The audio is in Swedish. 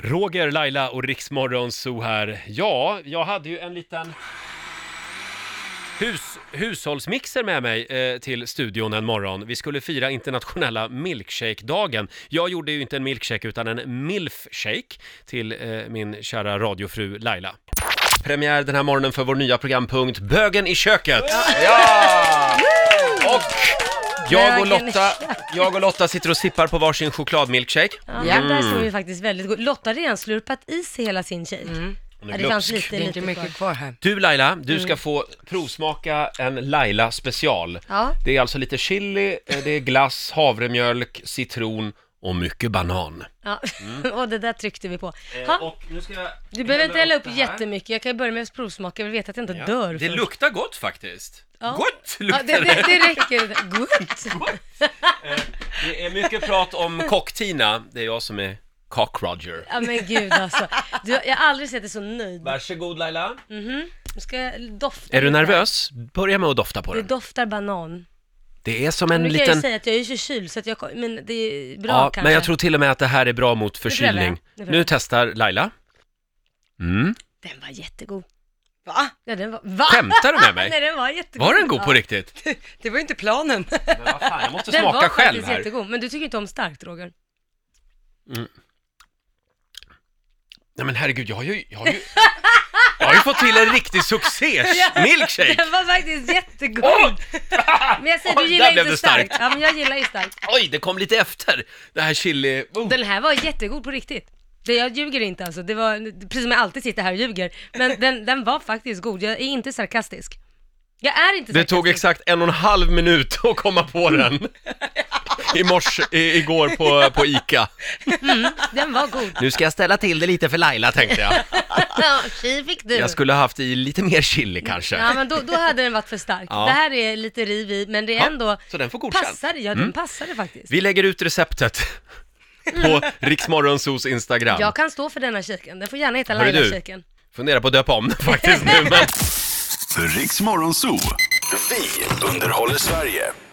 Roger, Laila och Riksmorgon så här. Ja, jag hade ju en liten hus, hushållsmixer med mig eh, till studion en morgon. Vi skulle fira internationella milkshake-dagen. Jag gjorde ju inte en milkshake utan en milfshake till eh, min kära radiofru Laila. Premiär den här morgonen för vår nya programpunkt Bögen i köket! Och jag och, Bögen i Lotta, jag och Lotta sitter och sippar på varsin chokladmilkshake. Ja, den där Mm. såg ju faktiskt väldigt god. Lotta har redan slurpat i sig hela sin shake. Hon Ja, är det fanns glupsk. lite, Det är inte lite mycket kvar. kvar här. Du Laila, du Mm. ska få provsmaka en Laila special. Ja. Det är alltså lite chili, eh, det är glass, havremjölk, citron och mycket banan. Ja, Mm. och det där tryckte vi på. Ha, Eh, Och nu ska jag du behöver inte hälla upp jättemycket, jag kan ju börja med att provsmaka, jag vill veta att jag inte dör Det först. luktar gott faktiskt. Ja. Gott ja, luktar det, det, det, det räcker. Gott! det! är mycket prat om kock-Tina, det är jag som är cock-Roger. Ja men gud alltså. Du, jag har aldrig sett dig så nöjd. Mhm. Varsågod Laila. Nu ska jag dofta. Är du lite. nervös? Börja med att dofta på Det den. doftar banan. Det är som en nu kan jag ju liten... säga att jag är ju förkyld så att jag, kom- men det är bra Ja, kanske. men jag tror till och med att det här är bra mot provar jag. förkylning. Nu provar Nu jag. testar Laila. Mm. Den var jättegod. Va? Ja, den var... Va? Skämtar du med mig? Nej den var jättegod. Var den god på Ja. riktigt? Det var ju inte planen. Men vad fan, jag måste Den var smaka själv faktiskt här. jättegod, men du tycker inte om starkt Roger. Nej men herregud, jag har ju, jag har ju, jag har ju fått till en riktig succés-milkshake! Den var faktiskt jättegod. Oj! Men jag säger, Oj, du där gillar blev inte det starkt. starkt. Ja, men jag gillar ju starkt. Oj, det kom lite efter, det här chili... Oh. Den här var jättegod på riktigt. Det, jag ljuger inte alltså. Det var, precis som jag alltid sitter här och ljuger. Men den, den var faktiskt god. Jag är inte sarkastisk. Jag är inte Det sarkastisk. tog exakt en och en halv minut att komma på den. I morse, i, igår på, på ICA. Den var god. Nu ska jag ställa till det lite för Laila tänkte jag. Ja, Tji fick du. Jag skulle ha haft i lite mer chili kanske. Ja, men då, då hade den varit för stark. Ja. Det här är lite riv i, men det är Ja, ändå... så den får godkänt. Mm. passade, ja den passade faktiskt. Vi lägger ut receptet på Mm. Riksmorgonsos Instagram. Jag kan stå för denna shaken. Den får gärna heta Hörru du. Laila-shaken. Funderar på att döpa om den faktiskt nu men... Riks Morgonzoo. Vi underhåller Sverige.